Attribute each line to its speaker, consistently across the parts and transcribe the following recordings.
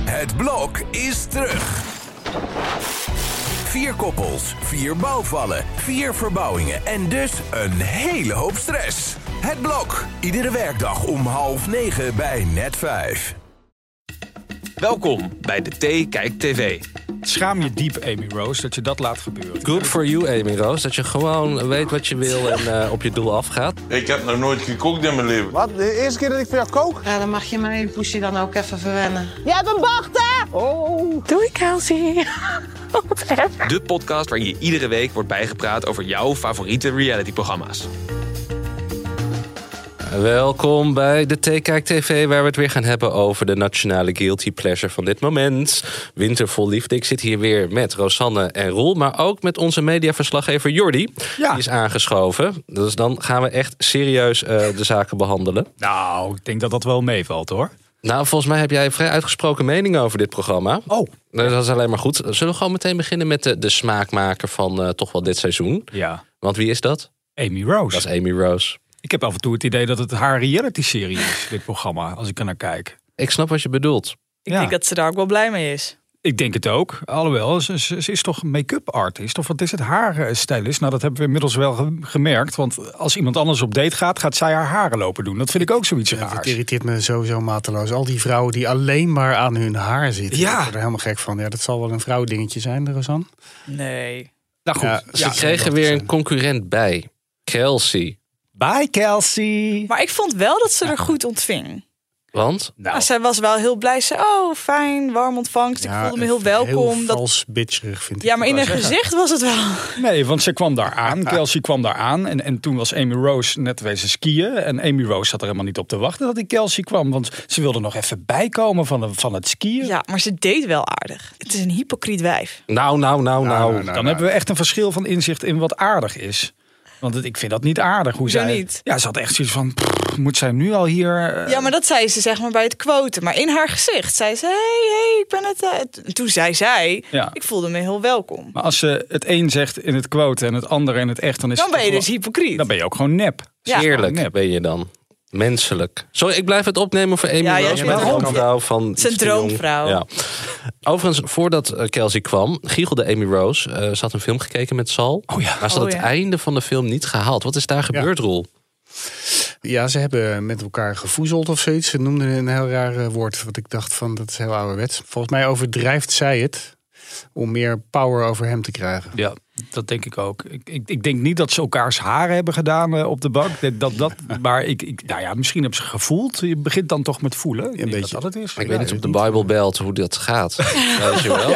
Speaker 1: Het blok is terug. Vier koppels, vier bouwvallen, vier verbouwingen en dus een hele hoop stress. Het blok, iedere werkdag om half negen bij net vijf.
Speaker 2: Welkom bij de T Kijk TV.
Speaker 3: Schaam je diep, Amy Rose, dat je dat laat gebeuren.
Speaker 4: Good for you, Amy Roos. Dat je gewoon weet wat je wil en eh, op je doel afgaat.
Speaker 5: Ik heb nog nooit gekookt in mijn leven.
Speaker 6: Wat? De eerste keer dat ik voor jou kook?
Speaker 7: Ja, dan mag je mijn poesje dan ook even verwennen.
Speaker 8: Jij hebt een bocht, hè? Oh. Doei, Kelsey. Wat erg.
Speaker 2: De podcast waarin je iedere week wordt bijgepraat over jouw favoriete realityprogramma's.
Speaker 4: Welkom bij de T-Kijk TV, waar we het weer gaan hebben over de nationale guilty pleasure van dit moment. Winter vol liefde. Ik zit hier weer met Rosanne en Roel, maar ook met onze mediaverslaggever Jordi.
Speaker 3: Ja.
Speaker 4: Die is aangeschoven. Dus dan gaan we echt serieus eh, de zaken behandelen.
Speaker 3: Nou, ik denk dat dat wel meevalt hoor.
Speaker 4: Nou, volgens mij heb jij een vrij uitgesproken mening over dit programma.
Speaker 3: Oh.
Speaker 4: Nou, Dat is alleen maar goed. Zullen we gewoon meteen beginnen met de, de smaakmaker van eh, toch wel dit seizoen?
Speaker 3: Ja.
Speaker 4: Want wie is dat?
Speaker 3: Amy Rose.
Speaker 4: Dat is Amy Rose.
Speaker 3: Ik heb af en toe het idee dat het haar reality-serie is, dit programma, als ik er naar kijk.
Speaker 4: Ik snap wat je bedoelt.
Speaker 3: Ik,
Speaker 9: Ik denk dat ze daar ook wel blij mee is.
Speaker 3: ik denk het ook. Alhoewel, ze, ze- ze is toch make-up artist? Of wat is het? Haar eh, stylist? Nou, dat hebben we inmiddels wel ge- gemerkt. Want als iemand anders op date gaat, gaat zij haar haren lopen doen. Dat vind ik ook zoiets
Speaker 6: Het
Speaker 3: raars.
Speaker 6: irriteert me sowieso mateloos. Al die vrouwen die alleen maar aan hun haar zitten.
Speaker 3: Ja.
Speaker 6: Ik word er helemaal gek van. Ja, dat zal wel een vrouwdingetje zijn, Rosanne.
Speaker 9: Nee.
Speaker 3: Nou goed.
Speaker 6: Ja,
Speaker 3: Ja,
Speaker 4: Ze kregen weer een concurrent bij. Kelsey.
Speaker 3: Bye Kelsey!
Speaker 9: Maar ik vond wel dat ze er goed ontving.
Speaker 4: Want?
Speaker 3: Nou,
Speaker 9: Maar zij was wel heel blij. Ze, oh, fijn, warm ontvangst. Ik
Speaker 6: Ja,
Speaker 9: voelde me heel
Speaker 6: een
Speaker 9: welkom.
Speaker 6: Heel
Speaker 9: dat...
Speaker 6: vals bitcherig vind ik.
Speaker 9: Ja, maar in
Speaker 6: het
Speaker 9: haar
Speaker 6: wel.
Speaker 9: gezicht was het wel.
Speaker 3: Nee, want ze kwam daar aan. Kelsey kwam daar aan. En, en toen was Amy Rose net wezen skiën. En Amy Rose zat er helemaal niet op te wachten dat die Kelsey kwam. Want ze wilde nog even bijkomen van, de- van het skiën.
Speaker 9: Ja, maar ze deed wel aardig. Het is een hypocriet wijf.
Speaker 4: Nou, nou, nou, nou.
Speaker 3: Dan hebben we echt een verschil van inzicht in wat aardig is. Want het- ik vind dat niet aardig. Hoe
Speaker 9: Hoezo
Speaker 3: zij,
Speaker 9: niet?
Speaker 3: Ja, ze had echt zoiets van, "Pff, moet zij nu al hier... eh,
Speaker 9: Ja, maar dat zei ze zeg maar bij het quoten. Maar in haar gezicht zei ze, hey, hey, ik ben het. eh." En Toen zei zij,
Speaker 3: Ja.
Speaker 9: ik voelde me heel welkom.
Speaker 3: Maar als ze het een zegt in het quote en het ander in het echt, dan is
Speaker 9: Dan
Speaker 3: het
Speaker 9: ben je
Speaker 3: toch
Speaker 9: dus
Speaker 3: wel-
Speaker 9: hypocriet.
Speaker 3: Dan ben je ook gewoon nep.
Speaker 9: Ja.
Speaker 4: Eerlijk
Speaker 3: Nep.
Speaker 4: ben je dan. Menselijk. Sorry, ik blijf het opnemen voor Amy
Speaker 9: Ja, jij
Speaker 4: Rose.
Speaker 9: bent
Speaker 4: maar
Speaker 9: een
Speaker 4: een
Speaker 9: droom-
Speaker 4: vrouw van...
Speaker 9: is een
Speaker 4: iets te jong.
Speaker 9: droomvrouw.
Speaker 4: Ja. Overigens, voordat eh, Kelsey kwam, giegelde Amy Rose. Eh, ze had een film gekeken met Sal.
Speaker 3: Oh ja.
Speaker 4: Maar ze had het
Speaker 9: Oh ja.
Speaker 4: einde van de film niet gehaald. Wat is daar gebeurd, Roel?
Speaker 6: Ja, ze hebben met elkaar gevoezeld of zoiets. Ze noemden een heel raar eh, woord. Wat ik dacht van, dat is heel ouderwets. Volgens mij overdrijft zij het. Om meer power over hem te krijgen.
Speaker 3: Ja, dat denk ik ook. Ik, ik, ik denk niet dat ze elkaars haren hebben gedaan eh, op de bank. Dat, dat, dat, maar ik, ik, nou ja, misschien hebben ze gevoeld. Je begint dan toch met voelen. Ik
Speaker 6: Ja, een
Speaker 3: denk
Speaker 6: beetje.
Speaker 3: Dat dat het is.
Speaker 4: Ik
Speaker 3: Ja,
Speaker 4: weet niet op de Bible Belt hoe dat gaat. Weet je wel?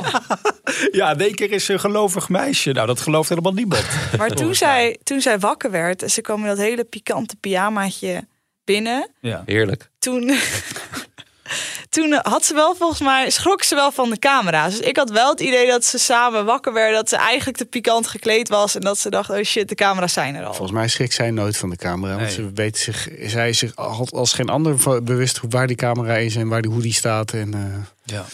Speaker 3: Ja, in één keer is ze een gelovig meisje. Nou, dat gelooft helemaal niemand.
Speaker 9: Maar toen zij, toen zij wakker werd en ze kwam in dat hele pikante pyjamaatje binnen.
Speaker 3: Ja.
Speaker 4: Heerlijk.
Speaker 9: toen, toen had ze wel volgens mij, schrok ze wel van de camera's. Dus ik had wel het idee dat ze samen wakker werden, dat ze eigenlijk te pikant gekleed was en dat ze dacht, oh shit, de camera's zijn er al.
Speaker 6: Volgens mij schrikt zij nooit van de camera. Want
Speaker 3: Nee.
Speaker 6: ze weet zich, zij is zich al- als geen ander van- bewust hoe- waar die camera is en waar die, hoe die staat. En, eh,
Speaker 3: Ja.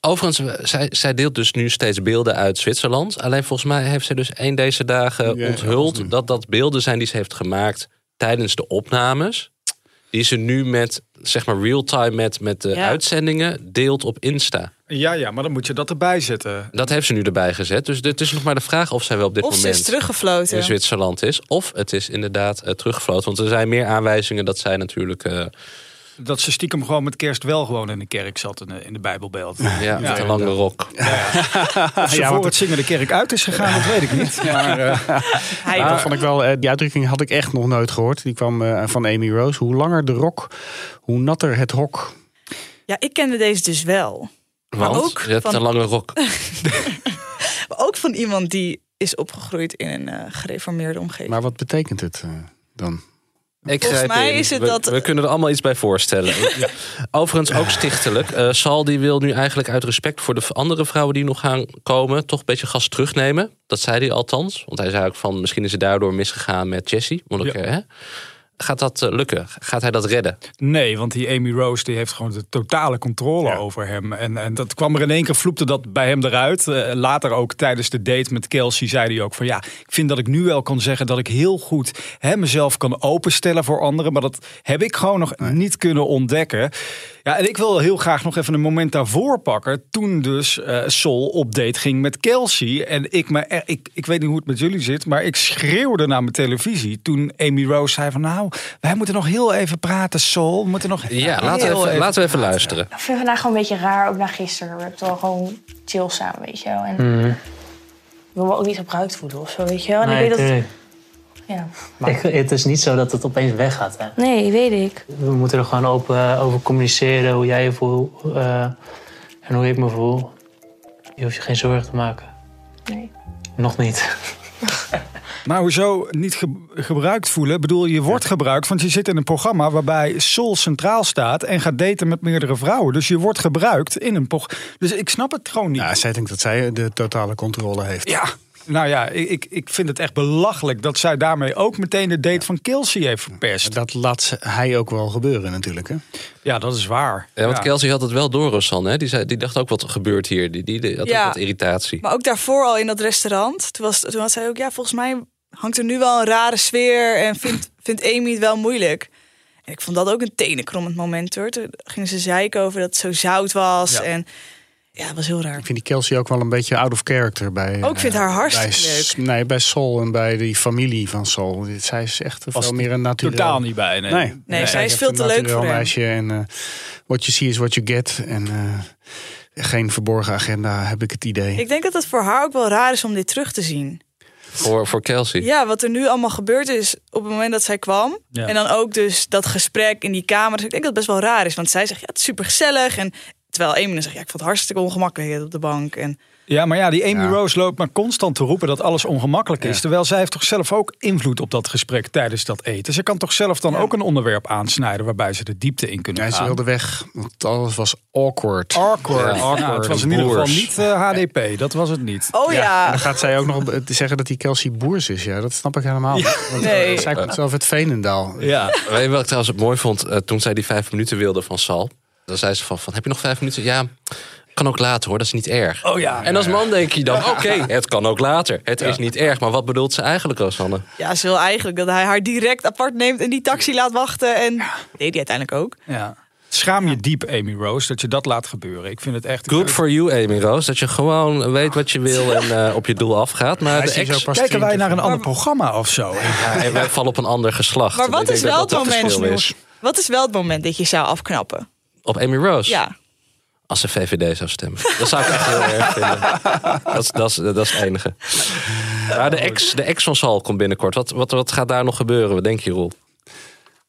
Speaker 4: Overigens, we- zij, zij deelt dus nu steeds beelden uit Zwitserland. Alleen volgens mij heeft zij dus één deze dagen
Speaker 6: Ja,
Speaker 4: onthuld
Speaker 6: volgens mij.
Speaker 4: dat dat beelden zijn die ze heeft gemaakt tijdens de opnames. Die ze nu met, zeg maar, real-time met, met de
Speaker 9: Ja.
Speaker 4: uitzendingen deelt op Insta.
Speaker 3: Ja, ja, maar dan moet je dat erbij zetten.
Speaker 4: Dat heeft ze nu erbij gezet. Dus het is nog maar de vraag of zij wel op dit
Speaker 9: Of ze is
Speaker 4: moment in
Speaker 9: teruggefloten.
Speaker 4: Zwitserland is. Of het is inderdaad eh, teruggevloten. Want er zijn meer aanwijzingen dat zij natuurlijk... eh,
Speaker 3: Dat ze stiekem gewoon met kerst wel gewoon in de kerk zat in de, in de Bijbelbeeld.
Speaker 4: ja, met een lange rok.
Speaker 3: Of ze
Speaker 6: Ja,
Speaker 3: voor
Speaker 6: want-
Speaker 3: het zingen de kerk uit is gegaan, dat weet ik niet. Maar, eh,
Speaker 9: Hij
Speaker 6: dat vond ik wel, eh, die uitdrukking had ik echt nog nooit gehoord. Die kwam eh, van Amy Rose. Hoe langer de rok, hoe natter het hok.
Speaker 9: Ja, ik kende deze dus wel. Maar
Speaker 4: Want
Speaker 9: ook
Speaker 4: je hebt
Speaker 9: van-
Speaker 4: een lange rok.
Speaker 9: Maar ook van iemand die is opgegroeid in een eh, gereformeerde omgeving.
Speaker 6: Maar wat betekent het eh, dan?
Speaker 4: Ik
Speaker 9: Volgens
Speaker 4: grijp
Speaker 9: mij
Speaker 4: in.
Speaker 9: is het
Speaker 4: we,
Speaker 9: dat-
Speaker 4: we kunnen er allemaal iets bij voorstellen. Overigens ook stichtelijk. Eh, Sal die wil nu eigenlijk uit respect voor de v- andere vrouwen die nog gaan komen... toch een beetje gas terugnemen. Dat zei hij althans. Want hij zei ook van misschien is het daardoor misgegaan met Jessie. Want ik,
Speaker 3: Ja.
Speaker 4: eh, hè? Gaat dat eh, lukken? Gaat hij dat redden?
Speaker 3: Nee, want die Amy Rose die heeft gewoon de totale controle over hem. En, en dat kwam er in één keer, vloepte dat bij hem eruit. Eh, later ook tijdens de date met Kelsey zei hij ook van... ja, ik vind dat ik nu wel kan zeggen dat ik heel goed hè, mezelf kan openstellen voor anderen. Maar dat heb ik gewoon nog niet kunnen ontdekken. Ja, en ik wil heel graag nog even een moment daarvoor pakken. Toen dus eh, Sol op date ging met Kelsey. En ik, me, er- ik, ik weet niet hoe het met jullie zit, maar ik schreeuwde naar mijn televisie. Toen Amy Rose zei van nou, wij moeten nog heel even praten, Sol. We moeten nog
Speaker 4: Ja,
Speaker 3: heel
Speaker 4: laten, we even, laten we even
Speaker 3: praten.
Speaker 4: luisteren.
Speaker 10: Ik vind vandaag gewoon een beetje raar, ook na gisteren. We hebben het al gewoon chill samen, weet je wel. En ik wil me ook niet gebruikt voelen of zo, weet je wel. En ik weet dat... Ja.
Speaker 11: Ik- het is niet zo dat het opeens weggaat. Hè.
Speaker 10: Nee, weet ik.
Speaker 11: We moeten er gewoon open eh, over communiceren, hoe jij je voelt eh, en hoe ik me voel. Je hoeft je geen zorgen te maken.
Speaker 10: Nee.
Speaker 11: Nog niet.
Speaker 3: Maar hoezo niet ge- gebruikt voelen? Ik bedoel, je wordt gebruikt, want je zit in een programma waarbij Sol centraal staat en gaat daten met meerdere vrouwen. Dus je wordt gebruikt in een programma. Dus ik snap het gewoon niet.
Speaker 6: Ja, zij denkt dat zij de totale controle heeft.
Speaker 3: Ja. Nou ja, ik, ik- ik vind het echt belachelijk dat zij daarmee ook meteen de date van Kelsey heeft verpest.
Speaker 6: Dat laat ze- hij ook wel gebeuren natuurlijk. Hè?
Speaker 3: Ja, dat is waar.
Speaker 4: Ja, Eh, want
Speaker 3: Ja.
Speaker 4: Kelsey had het wel door, Rosanne. Hè? Die, zei, die dacht ook wat er gebeurt hier. Die, die, die had
Speaker 9: Ja.
Speaker 4: ook wat irritatie.
Speaker 9: Maar ook daarvoor al in dat restaurant. Toen, was, toen had zij ook, ja, volgens mij hangt er nu wel een rare sfeer. En vindt, vindt Amy het wel moeilijk. En ik vond dat ook een tenenkrommend moment hoor. Toen gingen ze zeiken over dat het zo zout was.
Speaker 3: Ja.
Speaker 9: En ja, dat was heel raar.
Speaker 6: Ik vind die Kelsey ook wel een beetje out of character bij.
Speaker 9: Ook, Oh, ik vind
Speaker 6: eh,
Speaker 9: haar hartstikke
Speaker 6: bij, S-
Speaker 9: leuk.
Speaker 6: Nee, bij Sol en bij die familie van Sol. Zij is echt
Speaker 3: Was
Speaker 6: veel meer een natuurlijk.
Speaker 3: Totaal niet bij, nee.
Speaker 6: Nee,
Speaker 9: Nee, zij
Speaker 6: zij
Speaker 9: is
Speaker 6: heeft
Speaker 9: veel
Speaker 6: een
Speaker 9: te leuk
Speaker 6: naturel
Speaker 9: voor hem.
Speaker 6: meisje en eh what you see is what you get. En eh, geen verborgen agenda, heb ik het idee.
Speaker 9: Ik denk dat het voor haar ook wel raar is om dit terug te zien.
Speaker 4: Voor, voor Kelsey.
Speaker 9: Ja, wat er nu allemaal gebeurd is op het moment dat zij kwam.
Speaker 3: Ja.
Speaker 9: En dan ook dus dat gesprek in die kamer. Dus ik denk dat het best wel raar is. Want zij zegt, ja, het is super gezellig. En terwijl Amy dan zegt, ja, ik vond het hartstikke ongemakkelijk op de bank. En
Speaker 3: Ja, maar ja, die Amy
Speaker 6: Ja.
Speaker 3: Rose loopt maar constant te roepen dat alles ongemakkelijk is. Terwijl zij heeft toch zelf ook invloed op dat gesprek tijdens dat eten. Ze kan toch zelf dan ook een onderwerp aansnijden waarbij ze de diepte in kunnen
Speaker 6: Ja, ze
Speaker 3: gaan.
Speaker 6: wilde weg, want alles was awkward.
Speaker 9: Oh,
Speaker 3: Awkward.
Speaker 4: Ja,
Speaker 3: Ja,
Speaker 4: awkward.
Speaker 3: het was in ieder geval
Speaker 4: Boers.
Speaker 3: niet eh, HDP, dat was het niet.
Speaker 9: oh
Speaker 6: En
Speaker 9: ja,
Speaker 6: dan gaat zij ook nog op- zeggen dat die Kelsey boers is. Ja, dat snap ik helemaal niet. Want, eh,
Speaker 9: Nee.
Speaker 6: Zij komt zelf uit Veenendaal.
Speaker 3: Ja.
Speaker 4: Weet je wat ik trouwens mooi vond? Eh, toen zij die vijf minuten wilde van Sal. Dan zei ze van, van heb je nog vijf minuten? Ja, kan ook later hoor, dat is niet erg.
Speaker 3: Oh ja.
Speaker 4: En als man denk je dan, oké, het kan ook later. Het is niet erg. Maar wat bedoelt ze eigenlijk, Rosanne?
Speaker 9: Ja, ze wil eigenlijk dat hij haar direct apart neemt en die taxi laat wachten. En deed hij uiteindelijk ook.
Speaker 3: ja. Schaam je diep, Amy Rose, dat je dat laat gebeuren. Ik vind het echt...
Speaker 4: Good for you, Amy Roos. Dat je gewoon weet wat je wil en eh, op je doel afgaat. Maar
Speaker 6: Hij
Speaker 4: de
Speaker 6: is hier
Speaker 4: ex-
Speaker 6: zo pas
Speaker 3: Kijken wij
Speaker 6: 20.
Speaker 3: naar een ander programma of zo?
Speaker 4: Ja, en wij vallen op een ander geslacht.
Speaker 9: Maar
Speaker 4: En ik
Speaker 9: wat
Speaker 4: denk
Speaker 9: is
Speaker 4: dat
Speaker 9: wel het
Speaker 4: dat
Speaker 9: moment,
Speaker 4: verschil is.
Speaker 9: wat is wel het moment dat je zou afknappen?
Speaker 4: Op Amy Roos?
Speaker 9: Ja,
Speaker 4: Als ze VVD zou stemmen. Dat zou ik echt heel erg vinden. Dat is, dat is, dat is het enige. Maar de ex, de ex van Sal komt binnenkort. Wat, wat, wat gaat daar nog gebeuren? Wat denk je, Roel?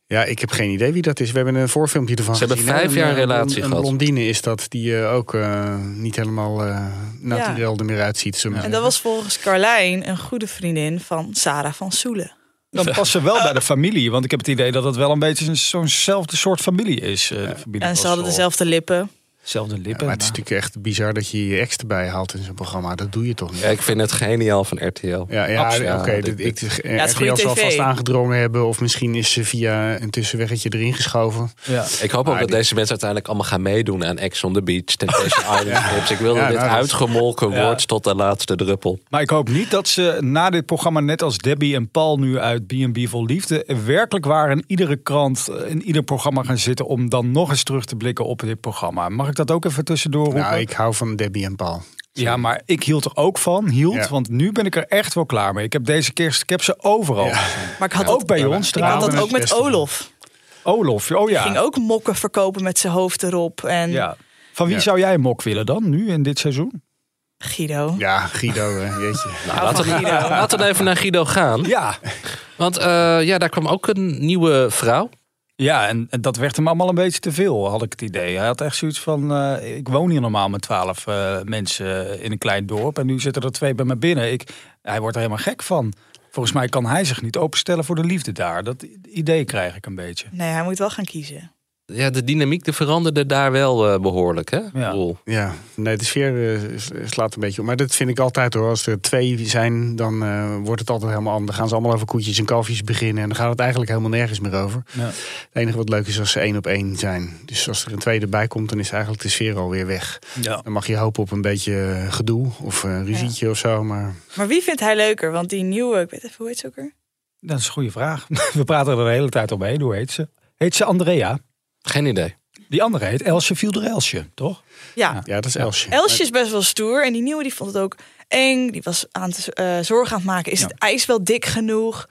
Speaker 6: Ja, ik heb geen idee wie dat is. We hebben een voorfilmpje ervan
Speaker 4: Ze hebben
Speaker 6: gezien, hè.
Speaker 4: vijf jaar
Speaker 6: eh,
Speaker 4: relatie
Speaker 6: een,
Speaker 4: gehad.
Speaker 6: Een blondine is dat, die eh, ook eh, niet helemaal eh natuurlijk er meer uitziet. zullen we
Speaker 9: en dat
Speaker 6: zeggen.
Speaker 9: was volgens Carlijn een goede vriendin van Sarah van Soelen.
Speaker 3: Dan past ze wel bij de familie. Want ik heb het idee dat het wel een beetje zo'n- zo'nzelfde soort familie is. eh, de familie
Speaker 9: En
Speaker 3: van
Speaker 9: ze hadden
Speaker 3: Sol.
Speaker 9: dezelfde lippen.
Speaker 3: Zelfde
Speaker 6: Ja,
Speaker 3: lippen.
Speaker 6: maar het is
Speaker 3: maar-
Speaker 6: natuurlijk echt bizar dat je je ex erbij haalt in zo'n programma. Dat doe je toch niet?
Speaker 4: Ja, ik vind het geniaal van RTL.
Speaker 6: Ja, ja
Speaker 4: Absoluut.
Speaker 6: oké.
Speaker 4: Ja,
Speaker 6: dit-
Speaker 4: dit-
Speaker 6: ik
Speaker 9: Ja,
Speaker 6: ja,
Speaker 9: het is goede
Speaker 6: RTL zal
Speaker 9: TV.
Speaker 6: vast aangedrongen hebben. Of misschien is ze via een tussenweggetje erin geschoven.
Speaker 3: Ja.
Speaker 4: Ik hoop ook
Speaker 6: Maar
Speaker 4: dat
Speaker 6: die-
Speaker 4: deze mensen uiteindelijk allemaal gaan meedoen aan Ex on the Beach, Temptation Island Clips. Ik wil
Speaker 6: Ja,
Speaker 4: dat dit
Speaker 6: nou, dat is-
Speaker 4: uitgemolken
Speaker 3: Ja.
Speaker 4: wordt tot de laatste druppel.
Speaker 3: Maar ik hoop niet dat ze na dit programma, net als Debbie en Paul nu uit B&B Vol Liefde, werkelijk waar in iedere krant, eh, in ieder programma gaan zitten om dan nog eens terug te blikken op dit programma. Mag ik dat ook even tussendoor roepen?
Speaker 6: Nou, ik hou van Debbie en Paul.
Speaker 3: Ja, maar ik hield er ook van, hield,
Speaker 6: Ja.
Speaker 3: want nu ben ik er echt wel klaar mee. Ik heb deze kerst, ik heb ze overal
Speaker 6: Ja.
Speaker 3: gezien.
Speaker 9: Maar ik had
Speaker 3: Ook
Speaker 9: dat,
Speaker 3: bij ons
Speaker 9: ik had
Speaker 3: trouwens.
Speaker 9: dat
Speaker 6: het
Speaker 9: ook met
Speaker 6: beste.
Speaker 9: Olof.
Speaker 3: Olof, oh ja.
Speaker 9: Ging ook mokken verkopen met zijn hoofd erop. En
Speaker 3: ja. Van wie
Speaker 6: Ja.
Speaker 3: zou jij een mok willen dan, nu in dit seizoen?
Speaker 9: Guido.
Speaker 6: Ja, Guido, eh, jeetje.
Speaker 4: Nou, laten, we, laten we even naar Guido gaan.
Speaker 3: Ja,
Speaker 4: Want eh, ja, daar kwam ook een nieuwe vrouw.
Speaker 3: ja en, en dat werd hem allemaal een beetje te veel, had ik het idee. Hij had echt zoiets van, eh, ik woon hier normaal met twaalf eh, mensen in een klein dorp en nu zitten er twee bij me binnen. Ik, hij wordt er helemaal gek van. Volgens mij kan hij zich niet openstellen voor de liefde daar. Dat idee krijg ik een beetje.
Speaker 9: Nee, hij moet wel gaan kiezen.
Speaker 4: Ja, de dynamiek de veranderde daar wel eh, behoorlijk, hè?
Speaker 6: Ja.
Speaker 4: Roel?
Speaker 6: Ja, nee, de sfeer eh, s- slaat een beetje op. Maar dat vind ik altijd hoor. Als er twee zijn, dan eh, wordt het altijd helemaal anders. Dan gaan ze allemaal over koetjes en kalfjes beginnen. En dan gaat het eigenlijk helemaal nergens meer over.
Speaker 3: Ja.
Speaker 6: Het enige wat leuk is als ze één op één zijn. Dus als er een tweede bij komt, dan is eigenlijk de sfeer alweer weg.
Speaker 3: Ja.
Speaker 6: Dan mag je hopen op een beetje eh, gedoe of een ruzietje of zo. Maar
Speaker 9: Maar wie vindt hij leuker? Want die nieuwe, ik weet even hoe heet ze ook weer?
Speaker 3: Dat is een goede vraag. We praten er de hele tijd omheen. Hoe heet ze? Heet ze Andrea?
Speaker 4: Geen idee.
Speaker 3: Die andere heet Elsje Vielder Elsje, toch?
Speaker 9: Ja.
Speaker 6: ja, dat is Elsje.
Speaker 9: Elsje is best wel stoer. En die nieuwe die vond het ook eng. Die was aan het eh, zorgen aan het maken. Is het ijs wel dik genoeg?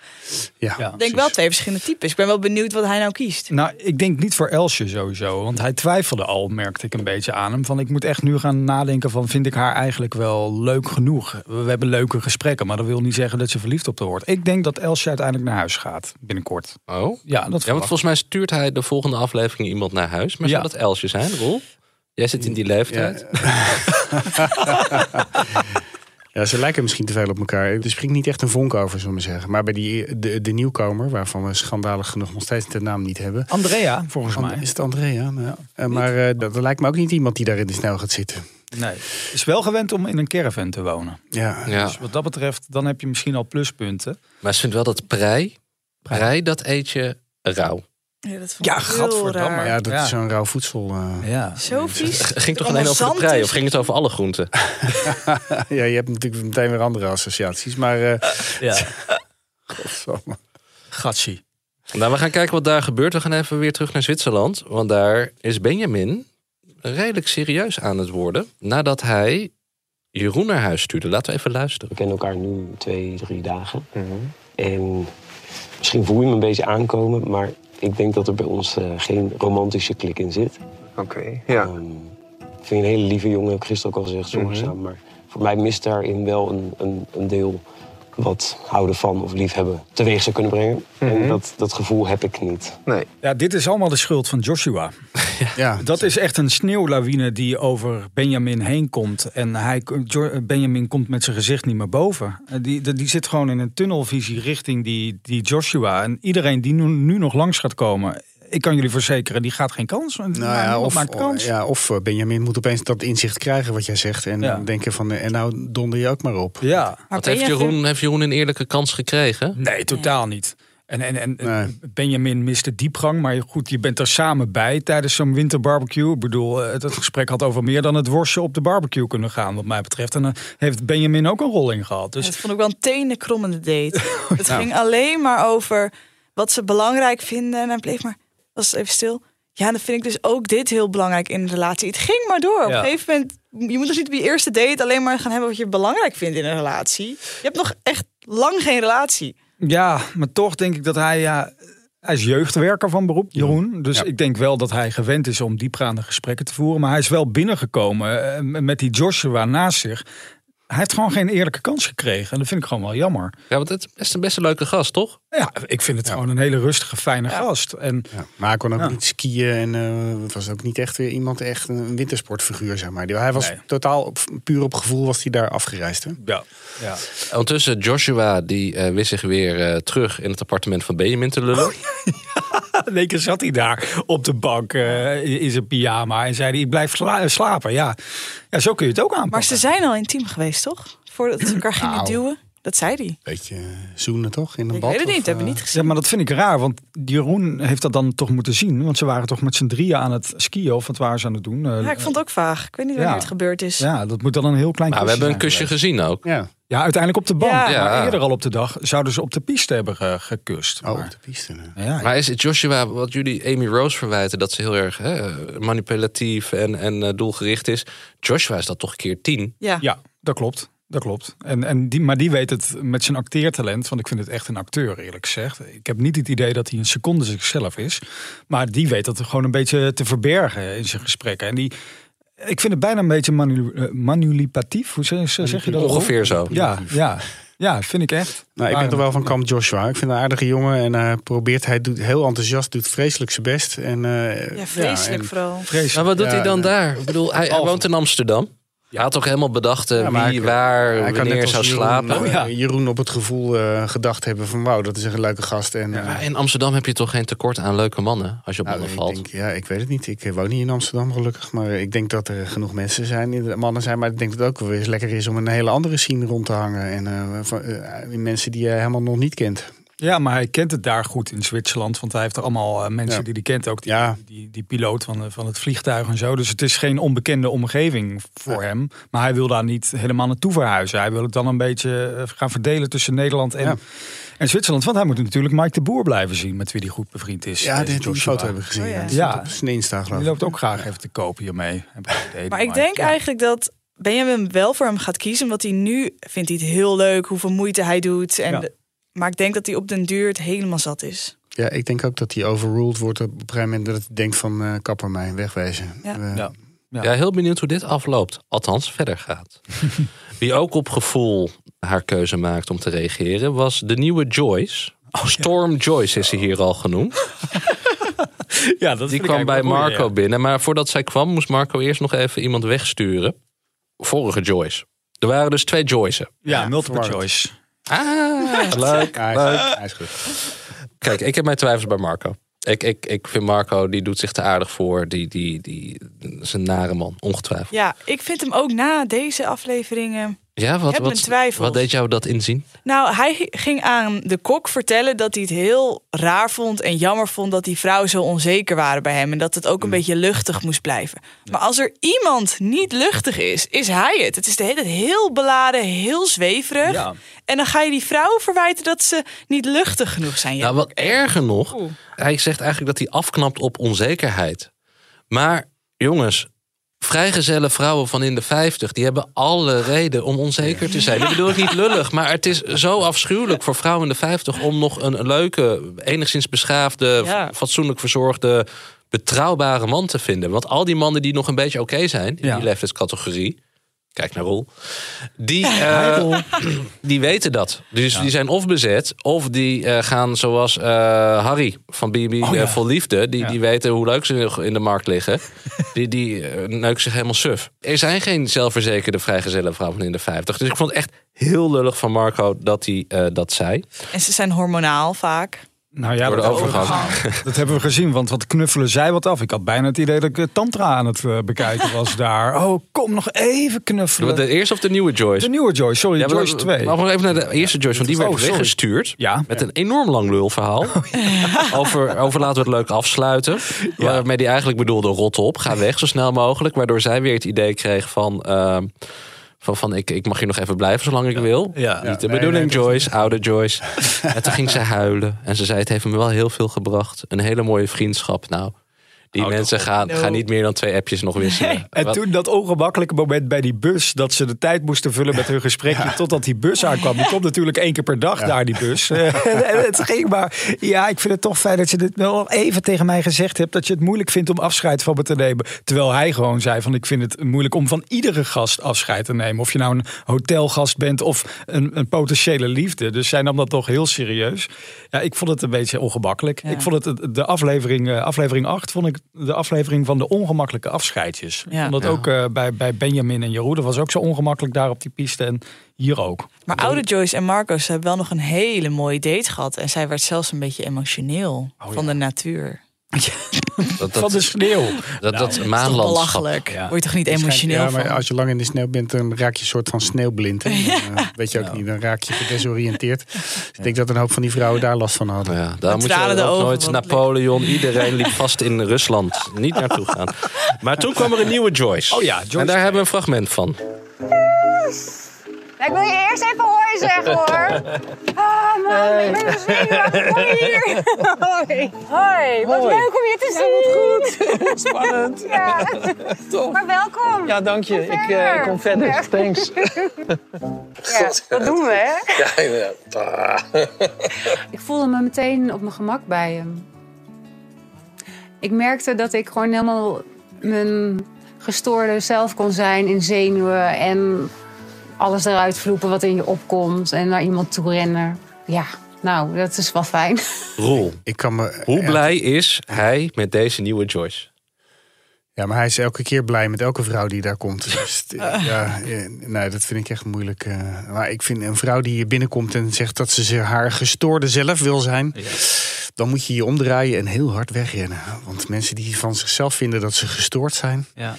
Speaker 6: Ja.
Speaker 9: Ik denk wel twee verschillende types. Ik ben wel benieuwd wat hij nou kiest.
Speaker 3: Nou, ik denk niet voor Elsje sowieso. Want hij twijfelde al, merkte ik een beetje aan hem. Van ik moet echt nu gaan nadenken van vind ik haar eigenlijk wel leuk genoeg? We hebben leuke gesprekken, maar dat wil niet zeggen dat ze verliefd op haar wordt. Ik denk dat Elsje uiteindelijk naar huis gaat binnenkort.
Speaker 4: Oh?
Speaker 3: Ja, dat
Speaker 4: Ja, want
Speaker 3: verwacht
Speaker 4: volgens mij stuurt hij de volgende aflevering iemand naar huis. Maar
Speaker 3: Ja.
Speaker 4: zou dat Elsje zijn, Roel? Jij zit in die leeftijd.
Speaker 6: Ja, ze lijken misschien te veel op elkaar. Er springt niet echt een vonk over, zullen we zeggen. Maar bij die, de, de nieuwkomer, waarvan we schandalig genoeg nog steeds de naam niet hebben.
Speaker 3: Andrea, volgens
Speaker 6: And-
Speaker 3: mij.
Speaker 6: Is het Andrea? Nou, eh, maar eh, dat, dat lijkt me ook niet iemand die daar in de snel gaat zitten.
Speaker 3: Nee. Is wel gewend om in een caravan te wonen.
Speaker 6: Ja.
Speaker 4: Ja.
Speaker 3: Dus wat dat betreft, dan heb je misschien al pluspunten.
Speaker 4: Maar ze vindt wel dat prei, prei dat eet je rauw.
Speaker 9: Ja, dat vond
Speaker 3: Ja,
Speaker 9: ik heel
Speaker 3: gadverdamme.
Speaker 9: raar.
Speaker 6: Ja, dat
Speaker 3: Ja.
Speaker 6: is zo'n rauw voedsel. eh.
Speaker 3: Ja.
Speaker 9: Zo vies.
Speaker 4: Ging toch
Speaker 9: Allemaal
Speaker 4: alleen over de
Speaker 9: zand
Speaker 4: prei
Speaker 9: is.
Speaker 4: of ging het over alle groenten?
Speaker 6: ja, je hebt natuurlijk meteen weer andere associaties. Maar eh,
Speaker 3: Ja.
Speaker 6: godsamme.
Speaker 3: Gatsie.
Speaker 4: Nou, we gaan kijken wat daar gebeurt. We gaan even weer terug naar Zwitserland. Want daar is Benjamin redelijk serieus aan het worden. Nadat hij Jeroen naar huis stuurde. Laten we even luisteren.
Speaker 12: We kennen elkaar nu twee, drie dagen. En misschien voel je me een beetje aankomen, maar ik denk dat er bij ons eh, geen romantische klik in zit. Oké, ja. Mhm. ik vind je een hele lieve jongen, heb ik gisteren ook al gezegd, zorgzaam. Maar voor mij mist daarin wel een, een, een deel wat houden van of liefhebben teweeg zou kunnen brengen. En dat, dat gevoel heb ik niet. Mhm. Nee.
Speaker 3: Ja, dit is allemaal de schuld van Joshua.
Speaker 6: Ja,
Speaker 3: Dat is echt een sneeuwlawine die over Benjamin heen komt. En hij, Jo- Benjamin komt met zijn gezicht niet meer boven. Eh, Die, die, die zit gewoon in een tunnelvisie richting die, die Joshua. En iedereen die nu, nu nog langs gaat komen, ik kan jullie verzekeren, die gaat geen kans. Nou
Speaker 6: Nou ja, of,
Speaker 3: maakt kans.
Speaker 6: ja, of eh, Benjamin moet opeens dat inzicht krijgen wat jij zegt. En
Speaker 3: Ja.
Speaker 6: dan denken van, eh, en nou donder je ook maar op.
Speaker 3: ja.
Speaker 9: Maar
Speaker 4: Wat heeft,
Speaker 9: Benjamin-
Speaker 4: Jeroen, heeft Jeroen een eerlijke kans gekregen?
Speaker 3: Nee, totaal niet. En, en, en eh,
Speaker 6: Nee.
Speaker 3: Benjamin mist de diepgang, maar goed, je bent er samen bij tijdens zo'n winterbarbecue. Ik bedoel, eh, het, het gesprek had over meer dan het worstje op de barbecue kunnen gaan, wat mij betreft. En daar heeft Benjamin ook een rol in gehad. Dus
Speaker 9: Dat vond ik wel een tenenkrommende date. Het ging alleen maar over wat ze belangrijk vinden. En hij bleef maar, was even stil. Ja, dan vind ik dus ook dit heel belangrijk in een relatie. Het ging maar door. Op
Speaker 3: Ja.
Speaker 9: een gegeven moment, je moet dus niet op je eerste date alleen maar gaan hebben wat je belangrijk vindt in een relatie. Je hebt nog echt lang geen relatie.
Speaker 3: Ja, maar toch denk ik dat hij. Ja, hij is jeugdwerker van beroep, Jeroen. Dus ik denk wel dat hij gewend is om diepgaande gesprekken te voeren. Maar hij is wel binnengekomen eh, met die Joshua naast zich. Hij heeft gewoon geen eerlijke kans gekregen. En dat vind ik gewoon wel jammer.
Speaker 4: Ja, want het is best een best een leuke gast, toch?
Speaker 3: Ja, ik vind het gewoon een hele rustige, fijne gast. En
Speaker 6: Ja, maar hij kon ook
Speaker 3: Ja.
Speaker 6: niet skiën en eh, het was ook niet echt weer iemand, echt een wintersportfiguur, zeg maar. Die- Hij was
Speaker 3: Nee.
Speaker 6: totaal, op, puur op gevoel was hij daar afgereisd, hè?
Speaker 3: ja, ja.
Speaker 4: Ondertussen, Joshua die eh, wist zich weer eh, terug in het appartement van Benjamin te
Speaker 6: Oh,
Speaker 4: lullen.
Speaker 3: in één keer zat hij daar op de bank eh, in zijn pyjama. En zei hij, ik blijf sla- slapen. Ja. ja, zo kun je het ook aanpakken.
Speaker 9: Maar ze zijn al intiem geweest, toch? Voordat ze elkaar gingen duwen. Dat zei hij.
Speaker 6: Beetje eh, zoenen, toch? In een
Speaker 9: Ik
Speaker 6: bad?
Speaker 9: weet het
Speaker 6: of,
Speaker 9: niet, dat heb ik
Speaker 6: eh,
Speaker 9: niet gezien.
Speaker 3: Ja, maar dat vind ik raar, want Jeroen heeft dat dan toch moeten zien. Want ze waren toch met z'n drieën aan het skiën, of wat waren ze aan het doen? Eh,
Speaker 9: Ja, ik vond het ook vaag. Ik weet niet wanneer
Speaker 3: Ja.
Speaker 9: het gebeurd is.
Speaker 3: ja, dat moet dan een heel klein
Speaker 4: Maar we hebben een kusje
Speaker 3: zijn geweest.
Speaker 4: gezien ook.
Speaker 6: Ja,
Speaker 3: Ja, uiteindelijk op de bank.
Speaker 9: Ja.
Speaker 4: Ja.
Speaker 3: Maar eerder al op de dag zouden ze op de piste hebben ge- gekust.
Speaker 6: oh, op
Speaker 3: Maar-
Speaker 6: de piste. hè.
Speaker 3: ja,
Speaker 4: Maar is het Joshua, wat jullie Amy Rose verwijten, dat ze heel erg hè, manipulatief en, en eh, doelgericht is. Joshua is dat toch keer tien?
Speaker 9: Ja.
Speaker 3: ja, dat klopt. Dat klopt. En, en die, maar die weet het met zijn acteertalent, want ik vind het echt een acteur eerlijk gezegd. Ik heb niet het idee dat hij een seconde zichzelf is. Maar die weet dat gewoon een beetje te verbergen in zijn gesprekken. En die, ik vind het bijna een beetje manu- eh, manipulatief. Hoe zeg, zeg je dat?
Speaker 4: Ongeveer zo.
Speaker 3: Ja, ja, ja, vind ik echt.
Speaker 6: Nou, ik ben toch wel van kamp Joshua. Ik vind een aardige jongen en hij probeert, hij doet heel enthousiast, doet vreselijk zijn best. En, eh,
Speaker 9: Ja, vreselijk
Speaker 6: en-
Speaker 9: vooral.
Speaker 3: vrees.
Speaker 4: Maar wat doet
Speaker 6: Ja, eh,
Speaker 4: hij dan
Speaker 6: ja.
Speaker 4: daar? Ik bedoel, hij, hij woont in Amsterdam. Je had toch helemaal bedacht eh,
Speaker 6: Ja, maar
Speaker 4: wie,
Speaker 6: hij-
Speaker 4: waar,
Speaker 6: hij kan net
Speaker 4: wanneer
Speaker 6: als
Speaker 4: zou
Speaker 6: Jeroen,
Speaker 4: slapen. Oh
Speaker 6: eh, Jeroen op het gevoel eh, gedacht hebben van wauw, dat is echt een leuke gast. En, eh,
Speaker 4: Maar In Amsterdam heb je toch geen tekort aan leuke mannen als je op
Speaker 6: nou,
Speaker 4: mannen
Speaker 6: ik
Speaker 4: valt.
Speaker 6: denk- ja, ik weet het niet. Ik eh, woon niet in Amsterdam gelukkig, maar ik denk dat er genoeg mensen zijn, die- mannen zijn. Maar ik denk dat het ook wel eens lekker is om een hele andere scene rond te hangen. En eh, van, eh, die mensen die je helemaal nog niet kent.
Speaker 3: Ja, maar hij kent het daar goed in Zwitserland. Want hij heeft er allemaal eh, mensen
Speaker 6: Ja.
Speaker 3: die hij kent. Ook die,
Speaker 6: Ja.
Speaker 3: die, die piloot van, eh, van het vliegtuig en zo. Dus het is geen onbekende omgeving voor hem. Maar hij wil daar niet helemaal naartoe verhuizen. Hij wil het dan een beetje eh, gaan verdelen tussen Nederland en,
Speaker 6: Ja.
Speaker 3: en Zwitserland. Want hij moet natuurlijk Mike de Boer blijven zien. Met wie hij goed bevriend is.
Speaker 6: Ja,
Speaker 3: deze
Speaker 6: dit, die
Speaker 3: Joshua.
Speaker 6: foto hebben we gezien.
Speaker 3: Oh, ja.
Speaker 6: ja.
Speaker 3: Ja.
Speaker 6: Dat is een Insta geloof
Speaker 3: Die
Speaker 6: ik.
Speaker 3: loopt ook graag even te kopen hiermee.
Speaker 9: Maar ik denk eigenlijk dat Benjamin wel voor hem gaat kiezen. Want hij nu vindt hij het heel leuk hoeveel moeite hij doet. En
Speaker 6: Ja.
Speaker 9: de- maar ik denk dat hij op den duur het helemaal zat is.
Speaker 6: Ja, ik denk ook dat die overruled wordt op een gegeven moment dat ik denk van eh, kapper mij, Eh, wegwijzen.
Speaker 9: Ja.
Speaker 6: We-
Speaker 3: Ja.
Speaker 4: Ja. heel benieuwd hoe dit afloopt. Althans, verder gaat. Wie ook op gevoel haar keuze maakt om te reageren, was de nieuwe Joyce.
Speaker 3: Oh,
Speaker 4: Storm Joyce is ze hier al genoemd.
Speaker 3: Ja, dat
Speaker 4: Die
Speaker 3: vind ik
Speaker 4: kwam
Speaker 3: eigenlijk
Speaker 4: bij
Speaker 3: wel een goeie,
Speaker 4: Marco
Speaker 3: ja.
Speaker 4: binnen. Maar voordat zij kwam, moest Marco eerst nog even iemand wegsturen. Vorige Joyce. Er waren dus twee Joyce'en.
Speaker 3: Ja, multiple
Speaker 4: verwarrend.
Speaker 3: choice.
Speaker 4: Ah, leuk,
Speaker 6: Hij is-
Speaker 4: leuk.
Speaker 6: hij is goed.
Speaker 4: Kijk, ik heb mijn twijfels bij Marco. Ik, ik, ik vind Marco, die doet zich te aardig voor. Die, die, die dat is een nare man, ongetwijfeld.
Speaker 9: Ja, ik vind hem ook na deze afleveringen.
Speaker 4: Ja, wat,
Speaker 9: heb mijn
Speaker 4: wat,
Speaker 9: twijfels.
Speaker 4: wat deed jou dat inzien?
Speaker 9: Nou, hij ging aan de kok vertellen dat hij het heel raar vond en jammer vond dat die vrouwen zo onzeker waren bij hem en dat het ook
Speaker 4: Mm.
Speaker 9: een beetje luchtig moest blijven. Maar als er iemand niet luchtig is, is hij het. Het is de hele tijd heel beladen, heel zweverig.
Speaker 4: Ja.
Speaker 9: En dan ga je die vrouwen verwijten dat ze niet luchtig genoeg zijn. Ja,
Speaker 4: Nou, wat erger nog, hij zegt eigenlijk dat hij afknapt op onzekerheid. Maar jongens, vrijgezelle vrouwen van in de 50, die hebben alle reden om onzeker te zijn. Dat bedoel ik niet lullig, maar het is zo afschuwelijk voor vrouwen in de 50 om nog een leuke, enigszins beschaafde,
Speaker 9: Ja.
Speaker 4: fatsoenlijk verzorgde, betrouwbare man te vinden. Want al die mannen die nog een beetje oké zijn in die leeftijdscategorie. Kijk naar Roel. Die, eh, die weten dat. Dus die zijn of bezet, of die eh, gaan zoals eh, Harry van BB eh, Vol Liefde. Die, die weten hoe leuk ze in de markt liggen. die die eh, neuken zich helemaal suf. Er zijn geen zelfverzekerde vrijgezelle vrouwen in de 50. Dus ik vond het echt heel lullig van Marco dat hij eh, dat zei.
Speaker 9: En ze zijn hormonaal vaak.
Speaker 3: Nou ja,
Speaker 4: Door de
Speaker 3: dat,
Speaker 4: overgang.
Speaker 3: dat hebben we gezien, want wat knuffelen zij wat af. Ik had bijna het idee dat ik eh, tantra aan het eh, bekijken was daar. Oh, kom nog even knuffelen.
Speaker 4: De eerste of de nieuwe Joyce?
Speaker 3: De nieuwe Joyce, sorry,
Speaker 4: Ja, maar-
Speaker 3: Joyce 2.
Speaker 4: Maar nog even naar de eerste Joyce, want die
Speaker 3: Oh,
Speaker 4: werd
Speaker 3: sorry.
Speaker 4: weggestuurd.
Speaker 3: Ja.
Speaker 4: Met een enorm lang lulverhaal. over, over laten we het leuk afsluiten. Waarmee die eigenlijk bedoelde rot op, ga weg zo snel mogelijk. Waardoor zij weer het idee kreeg van... ehm, van, van ik, ik mag hier nog even blijven zolang ik wil.
Speaker 3: Ja.
Speaker 4: Niet de
Speaker 6: Nee,
Speaker 4: bedoeling,
Speaker 6: nee,
Speaker 4: Joyce, oude Joyce. en toen ging ze huilen. En ze zei, het heeft me wel heel veel gebracht. Een hele mooie vriendschap. Nou, die mensen gaan, gaan niet meer dan twee appjes nog wisselen.
Speaker 3: En
Speaker 4: Wat-
Speaker 3: toen dat ongemakkelijke moment bij die bus, dat ze de tijd moesten vullen met hun gesprekje totdat die bus aankwam. Die komt natuurlijk één keer per dag daar, die bus. en, en het ging maar. Ja, ik vind het toch fijn dat je dit wel even tegen mij gezegd hebt. Dat je het moeilijk vindt om afscheid van me te nemen. Terwijl hij gewoon zei van ik vind het moeilijk om van iedere gast afscheid te nemen. Of je nou een hotelgast bent of een, een potentiële liefde. Dus zij nam dat toch heel serieus. Ja, ik vond het een beetje ongemakkelijk. Ik vond het de aflevering, eh, aflevering 8 vond ik de aflevering van de ongemakkelijke afscheidjes.
Speaker 9: Ja.
Speaker 3: Omdat
Speaker 9: Ja.
Speaker 3: ook eh, bij, bij Benjamin en Jeroen, dat was ook zo ongemakkelijk daar op die piste en hier ook.
Speaker 9: Maar oude Joyce en Marco, ze hebben wel nog een hele mooie date gehad. En zij werd zelfs een beetje emotioneel
Speaker 4: Oh
Speaker 9: van de natuur.
Speaker 4: dat,
Speaker 3: Van de sneeuw.
Speaker 4: Dat,
Speaker 3: Nou,
Speaker 4: dat
Speaker 3: dat
Speaker 9: Dat is toch
Speaker 4: maanlandschap.
Speaker 9: belachelijk?
Speaker 3: Ja.
Speaker 9: Word je toch niet emotioneel
Speaker 6: ja, maar
Speaker 9: van?
Speaker 6: als je lang in de sneeuw bent, dan raak je een soort van sneeuwblind. En, dan, eh, weet je ook niet, dan raak je gedesoriënteerd. Dus ik denk dat een hoop van die vrouwen daar last van hadden.
Speaker 4: Ja, daar moet je
Speaker 9: tranen
Speaker 4: ook
Speaker 9: de ogen,
Speaker 4: nooit
Speaker 9: want-
Speaker 4: Napoleon. Iedereen liep vast in Rusland. Niet naartoe gaan. Maar toen kwam er een nieuwe Joyce.
Speaker 3: Oh ja, Joyce
Speaker 4: En daar hebben we een fragment van.
Speaker 8: Ik wil je eerst even hoi zeggen hoor. Ah, man, ik ben zo zenuwachtig. Kom hier. Hoi. Hoi, wat leuk om je te zien. Ja, goed. Spannend. Ja. Maar welkom.
Speaker 11: Ja, dank je. Ik eh, kom verder. Thanks.
Speaker 8: Ja, dat doen we, hè?
Speaker 11: Ja, inderdaad.
Speaker 13: Ik voelde me meteen op mijn gemak bij hem. Ik merkte dat ik gewoon helemaal mijn gestoorde zelf kon zijn in zenuwen en alles eruit vloepen wat in je opkomt en naar iemand toe rennen. Ja, nou, dat is wel fijn.
Speaker 4: Roel,
Speaker 6: Ik kan me,
Speaker 4: hoe blij is hij met deze nieuwe Joyce?
Speaker 6: Ja, maar hij is elke keer blij met elke vrouw die daar komt. Dus t- ja, eh, nee, dat vind ik echt moeilijk. eh. maar ik vind een vrouw die hier binnenkomt en zegt dat ze ze haar gestoorde zelf wil zijn. Dan moet je je omdraaien en heel hard wegrennen. Want mensen die van zichzelf vinden dat ze gestoord zijn.
Speaker 3: Ja.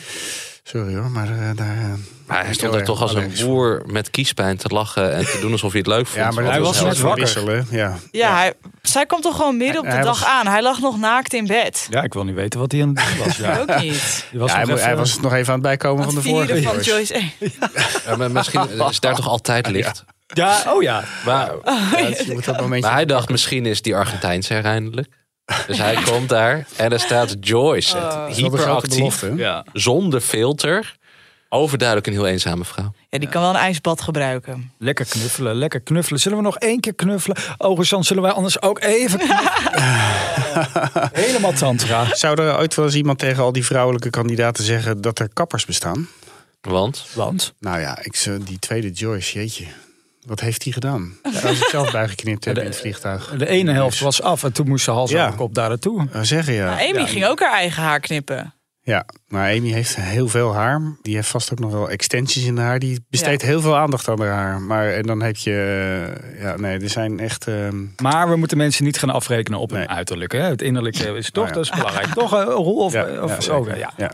Speaker 6: Sorry hoor, maar eh, daar. eh,
Speaker 4: Maar
Speaker 6: ben
Speaker 4: hij
Speaker 6: ik
Speaker 4: stond
Speaker 6: heel
Speaker 4: er
Speaker 6: erg
Speaker 4: toch als een
Speaker 6: allergisch voor.
Speaker 4: boer met kiespijn te lachen en te doen alsof hij het leuk vond.
Speaker 6: Ja, maar hij was net wakker. Ja.
Speaker 9: Ja, Hij, zij kwam toch gewoon midden op de
Speaker 3: Hij- hij
Speaker 9: dag
Speaker 3: was-
Speaker 9: aan. Hij lag nog naakt in bed.
Speaker 3: Ja, ik wil niet weten wat hij aan het doen was. Ja.
Speaker 9: Ook niet.
Speaker 3: Die was
Speaker 6: Ja, hij,
Speaker 3: nog
Speaker 6: mo- hij
Speaker 3: even-
Speaker 6: was nog even aan het bijkomen
Speaker 9: Aan
Speaker 6: van de
Speaker 9: het vieren
Speaker 6: vorige.
Speaker 9: van
Speaker 6: Joyce.
Speaker 9: Joyce. eh.
Speaker 4: maar misschien is daar toch altijd licht.
Speaker 3: Ja, oh ja.
Speaker 4: Maar,
Speaker 9: ja,
Speaker 6: dus Je moet dat momentje
Speaker 4: maar hij dacht, misschien is die Argentijnse er eindelijk. Dus hij komt daar en daar staat Joyce. het
Speaker 6: is wel de grote
Speaker 4: hyperactief,
Speaker 6: belofte, hè?
Speaker 3: Ja.
Speaker 4: zonder filter. Overduidelijk een heel eenzame vrouw.
Speaker 9: Ja, die kan wel een ijsbad gebruiken.
Speaker 3: Lekker knuffelen, lekker knuffelen. Zullen we nog één keer knuffelen? Oh, Rosanne, zullen wij anders ook even knuffelen? Helemaal tantra.
Speaker 6: Zou er ooit wel eens iemand tegen al die vrouwelijke kandidaten zeggen dat er kappers bestaan?
Speaker 4: Want?
Speaker 3: Want?
Speaker 6: Nou ja, ik, zo- die tweede Joyce, jeetje. Wat heeft hij gedaan? Zou ze zelf bijgeknipt hebben in het vliegtuig? Dus-
Speaker 3: De ene helft was af en toen moest ze hals
Speaker 6: Ja.
Speaker 3: en kop daar naartoe.
Speaker 6: Zou zeggen Eh, ja.
Speaker 9: Maar Amy ging ook haar eigen haar knippen.
Speaker 6: Ja, maar Amy heeft heel veel haar. Die heeft vast ook nog wel extensies in haar. Die besteedt heel veel aandacht aan haar haar. Maar en dan heb je... eh, ja, nee, er zijn echt... ehm,
Speaker 3: Maar we moeten mensen niet gaan afrekenen op hun uiterlijk. Hè? Het innerlijke is toch,
Speaker 6: Nou ja.
Speaker 3: dat is belangrijk. Toch, eh, Roel? Of,
Speaker 6: Ja,
Speaker 3: of
Speaker 6: ja,
Speaker 3: zo,
Speaker 6: zeker.
Speaker 3: ja.
Speaker 6: ja.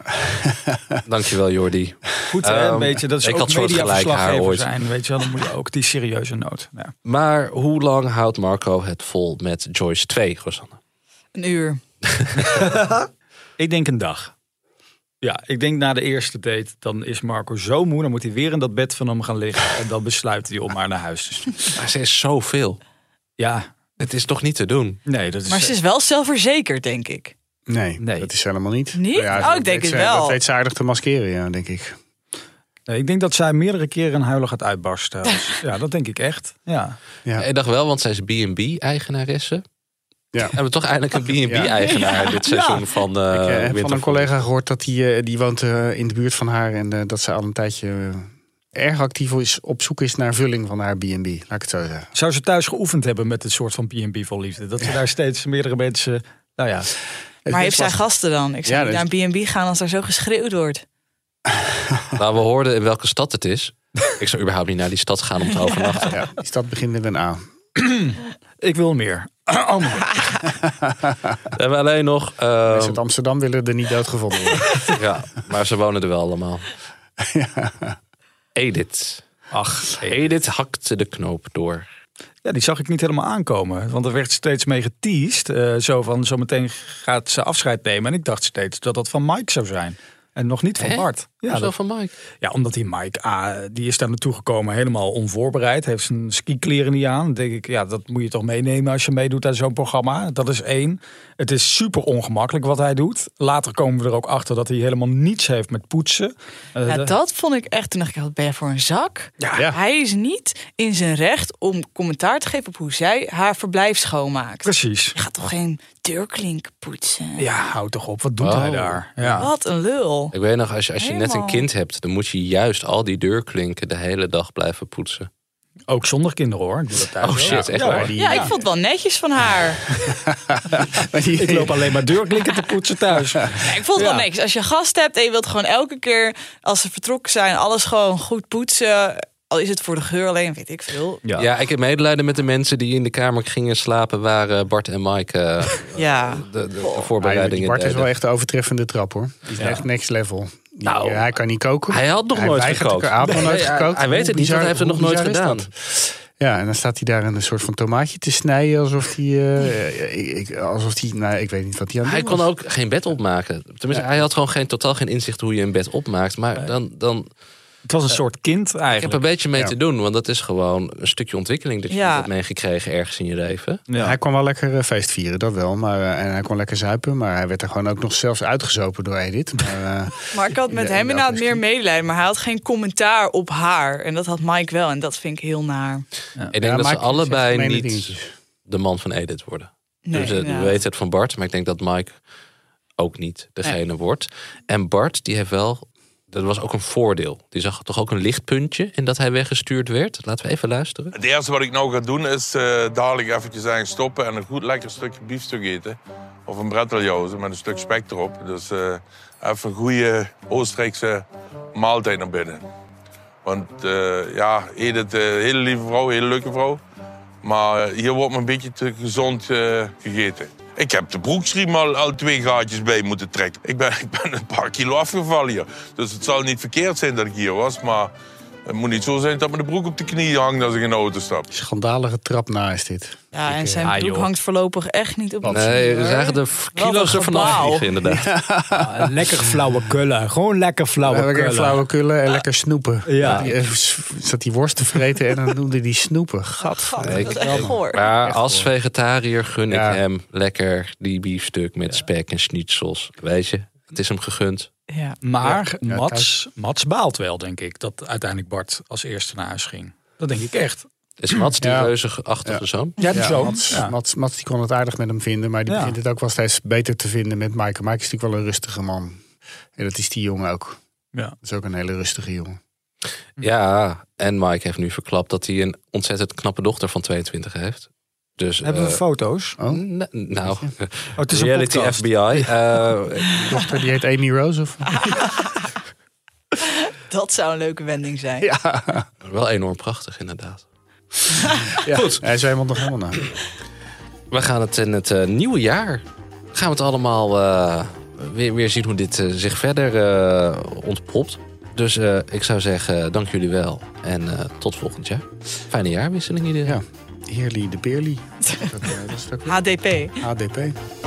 Speaker 4: Dankjewel Jordi.
Speaker 3: Goed, hè,
Speaker 4: Ehm,
Speaker 3: een beetje. Dat is
Speaker 4: ik
Speaker 3: ook
Speaker 4: had soortgelijk haar
Speaker 3: mediaverslaggever
Speaker 4: ooit.
Speaker 3: zijn. Weet je wel, dan moet je ook die serieuze noot. Ja.
Speaker 4: Maar hoe lang houdt Marco het vol met Joyce 2, Rosanne?
Speaker 9: Een uur.
Speaker 3: Ik denk een dag. Ja, ik denk na de eerste date, dan is Marco zo moe. Dan moet hij weer in dat bed van hem gaan liggen. En dan besluit hij om maar naar huis te sturen.
Speaker 4: Maar ze is zoveel.
Speaker 3: Ja,
Speaker 4: Het is toch niet te doen?
Speaker 3: nee, dat is...
Speaker 9: Maar ze is wel zelfverzekerd, denk ik.
Speaker 6: nee,
Speaker 3: Nee.
Speaker 6: dat is helemaal niet.
Speaker 9: Niet?
Speaker 6: Nou
Speaker 9: Oh, ik
Speaker 6: dat
Speaker 9: denk
Speaker 6: weet
Speaker 9: het
Speaker 6: ze-
Speaker 9: wel.
Speaker 6: Dat weet ze aardig te maskeren, ja, denk ik.
Speaker 3: Nee, ik denk dat zij meerdere keren een huilen gaat uitbarsten. Dus ja, dat denk ik echt. Ja.
Speaker 6: Ja.
Speaker 4: Ik dacht wel, want zij is B&B-eigenaresse.
Speaker 6: Ja.
Speaker 4: Hebben we toch eindelijk een B&B-eigenaar dit seizoen van eh
Speaker 6: Ik eh, heb van
Speaker 4: Winterfell?
Speaker 6: een collega gehoord dat die, eh, die woont eh, in de buurt van haar. En eh, dat ze al een tijdje eh, erg actief is, op zoek is naar vulling van haar B&B. Laat ik het zo zeggen.
Speaker 3: Zou ze thuis geoefend hebben met dit soort van B&B vol liefde? Dat ze daar steeds meerdere mensen... Nou ja,
Speaker 9: Maar heeft zij gasten dan? Ik zou
Speaker 6: Ja,
Speaker 9: niet
Speaker 6: dat
Speaker 9: naar een B&B gaan als daar zo geschreeuwd wordt.
Speaker 4: Nou, we hoorden in welke stad het is. Ik zou überhaupt niet naar die stad gaan om te overnachten.
Speaker 6: Ja, die stad begint met een
Speaker 4: Oh.
Speaker 6: A.
Speaker 3: ik wil meer. Oh my God.
Speaker 4: We hebben alleen nog... eh,
Speaker 6: Mensen Dus uit Amsterdam willen er niet doodgevonden worden.
Speaker 4: ja, maar ze wonen er wel allemaal. Edith.
Speaker 3: Ach,
Speaker 4: Edith hakte de knoop door.
Speaker 3: ja, die zag ik niet helemaal aankomen. Want er werd steeds mee geteased. eh, zo van, zometeen gaat ze afscheid nemen. En ik dacht steeds dat dat van Mike zou zijn. En nog niet van
Speaker 4: Hè?
Speaker 3: Bart.
Speaker 4: Ja,
Speaker 3: Ja,
Speaker 4: zo
Speaker 3: dat-
Speaker 4: van Mike.
Speaker 3: ja, omdat die Mike, ah, die is daar naartoe gekomen helemaal onvoorbereid. Heeft zijn skikleren niet aan. Dan denk ik, ja, dat moet je toch meenemen als je meedoet aan zo'n programma. Dat is één. Het is super ongemakkelijk wat hij doet. Later komen we er ook achter dat hij helemaal niets heeft met poetsen. Eh,
Speaker 9: Ja,
Speaker 3: de-
Speaker 9: dat vond ik echt. Toen dacht ik, wat ben je voor een zak?
Speaker 3: Ja.
Speaker 6: Ja.
Speaker 9: Hij is niet in zijn recht om commentaar te geven op hoe zij haar verblijf schoonmaakt.
Speaker 3: Precies.
Speaker 9: Je gaat toch geen deurklink poetsen?
Speaker 3: Ja, houd toch op. Wat doet
Speaker 4: Oh.
Speaker 3: hij daar? Ja.
Speaker 9: Wat een lul.
Speaker 4: Ik weet nog, als je, als je net een
Speaker 9: Helemaal.
Speaker 4: kind hebt... dan moet je juist al die deurklinken de hele dag blijven poetsen.
Speaker 3: Ook zonder kinderen hoor. Ik doe dat thuis
Speaker 4: Oh
Speaker 3: ook.
Speaker 4: shit, echt
Speaker 3: Ja,
Speaker 4: waar?
Speaker 3: hoor.
Speaker 9: Ja, ik vond het wel netjes van haar.
Speaker 3: Ik loop alleen maar deurklinken te poetsen thuis.
Speaker 9: Ja, ik vond het
Speaker 3: Ja.
Speaker 9: wel netjes. Als je gast hebt en je wilt gewoon elke keer als ze vertrokken zijn, alles gewoon goed poetsen. Al is het voor de geur alleen, weet ik veel.
Speaker 4: Ja. ik heb medelijden met de mensen die in de kamer gingen slapen... waar Bart en Mike eh,
Speaker 9: Ja.
Speaker 4: de, de
Speaker 6: Maar ja, die
Speaker 4: voorbereidingen
Speaker 6: Bart is wel
Speaker 4: deden.
Speaker 6: echt de overtreffende trap hoor. Die is echt next level. Die-
Speaker 4: Nou,
Speaker 6: hij kan niet koken.
Speaker 4: Hij had nog nooit
Speaker 6: weigert
Speaker 4: gekookt.
Speaker 6: elkaar- Hij had nog
Speaker 4: Nee,
Speaker 6: nooit
Speaker 4: hij-
Speaker 6: gekookt.
Speaker 4: hij weet
Speaker 6: Hoe
Speaker 4: het niet, want hij heeft het
Speaker 6: bizar-
Speaker 4: nog nooit
Speaker 6: hoe bizar
Speaker 4: gedaan.
Speaker 6: is dat? Ja, en dan staat hij daar een soort van tomaatje te snijden. Alsof hij. eh, ik- ik- alsof hij. Nou, ik weet niet wat hij aan het
Speaker 4: Hij
Speaker 6: doen
Speaker 4: kon
Speaker 6: was.
Speaker 4: ook geen bed opmaken. Tenminste, hij had gewoon geen, totaal geen inzicht hoe je een bed opmaakt. Maar dan, dan
Speaker 3: Het was een soort kind
Speaker 4: ik heb
Speaker 3: eigenlijk.
Speaker 4: er een beetje mee
Speaker 6: Ja.
Speaker 4: te doen. Want dat is gewoon een stukje ontwikkeling dat je
Speaker 9: Ja.
Speaker 4: niet hebt meegekregen ergens in je leven.
Speaker 3: Ja.
Speaker 6: Hij kon wel lekker eh, feest vieren, dat wel. Maar, eh, en hij kon lekker zuipen. Maar hij werd er gewoon ook nog zelfs uitgezopen door Edith. Maar, eh,
Speaker 9: Maar ik had met
Speaker 6: Ja,
Speaker 9: hem inderdaad
Speaker 6: misschien.
Speaker 9: meer medelijden. Maar hij had geen commentaar op haar. En dat had Mike wel. En dat vind ik heel naar.
Speaker 4: Ik denk
Speaker 6: Ja,
Speaker 4: dat ze
Speaker 6: Mike zegt
Speaker 4: allebei
Speaker 6: gemene
Speaker 4: niet
Speaker 6: dingetjes.
Speaker 4: de man van Edith worden.
Speaker 9: Nee,
Speaker 4: dus, eh,
Speaker 9: inderdaad.
Speaker 4: we weten het van Bart, maar ik denk dat Mike ook niet degene wordt. En Bart, die heeft wel dat was ook een voordeel. Die zag toch ook een lichtpuntje in dat hij weggestuurd werd. Laten we even luisteren.
Speaker 5: Het eerste wat ik nou ga doen is eh, dadelijk eventjes aan stoppen en een goed lekker stukje biefstuk eten. Of een bretteljauze met een stuk spek erop. Dus eh, even een goede Oostenrijkse maaltijd naar binnen. Want eh, ja, Edith, eh hele lieve vrouw, hele leuke vrouw. Maar eh, hier wordt me een beetje te gezond eh, gegeten. Ik heb de broeksriem al, al twee gaatjes bij moeten trekken. Ik ben, ik ben een paar kilo afgevallen hier. Dus het zal niet verkeerd zijn dat ik hier was. Maar het moet niet zo zijn dat me de broek op de knieën hangt als ik in de auto stap.
Speaker 6: Schandalige trap na is dit.
Speaker 9: Ja, en zijn
Speaker 6: Ah,
Speaker 9: broek
Speaker 6: joh.
Speaker 9: hangt voorlopig echt niet op.
Speaker 4: eh, Nee, we zagen de kilo's ervan afvliegen inderdaad.
Speaker 3: Ah, lekker flauwe kullen. Gewoon lekker flauwe
Speaker 6: Ja, lekker
Speaker 3: kullen.
Speaker 6: flauwe kullen en lekker snoepen.
Speaker 3: Ah. Ja.
Speaker 6: Die, eh, zat die worst te vreten en dan noemde die snoepen. Gadverdamme.
Speaker 4: Ik- Maar als vegetariër gun ik hem lekker die biefstuk met spek en schnitzels. Weet je, het is hem gegund.
Speaker 9: Ja.
Speaker 3: Maar
Speaker 4: Ja,
Speaker 3: Mats, Mats baalt wel, denk ik, dat uiteindelijk Bart als eerste naar huis ging. Dat denk ik echt.
Speaker 4: Is Mats die
Speaker 3: Ja.
Speaker 4: reuzeachtige zoon?
Speaker 3: Ja, die zoon.
Speaker 6: Mats,
Speaker 3: Ja.
Speaker 6: Mats, Mats die kon het aardig met hem vinden, maar die
Speaker 3: Ja.
Speaker 6: begint het ook wel steeds beter te vinden met Mike. Mike is natuurlijk wel een rustige man. En dat is die jongen ook.
Speaker 3: Ja.
Speaker 6: Dat is ook een hele rustige jongen.
Speaker 4: Ja, en Mike heeft nu verklapt dat hij een ontzettend knappe dochter van 22 heeft. Dus,
Speaker 3: Hebben we
Speaker 4: eh,
Speaker 3: foto's? Oh,
Speaker 6: Oh.
Speaker 4: Nou,
Speaker 3: het is een
Speaker 4: reality
Speaker 3: podcast.
Speaker 4: FBI. eh,
Speaker 6: Dochter die heet Amy Rose of?
Speaker 9: Dat zou een leuke wending zijn.
Speaker 4: wel enorm prachtig inderdaad.
Speaker 6: Ja. Goed. Hij is helemaal nog helemaal na.
Speaker 4: We gaan het in het eh, nieuwe jaar. Gaan we het allemaal eh, weer, weer zien hoe dit eh, zich verder eh, ontpopt. Dus eh, ik zou zeggen, dank jullie wel. En eh, tot volgend jaar. Fijne jaarwisseling iedereen.
Speaker 6: Heerly de Beerly. Dat, eh, dat is het ook weer.
Speaker 9: HDP.
Speaker 6: HDP.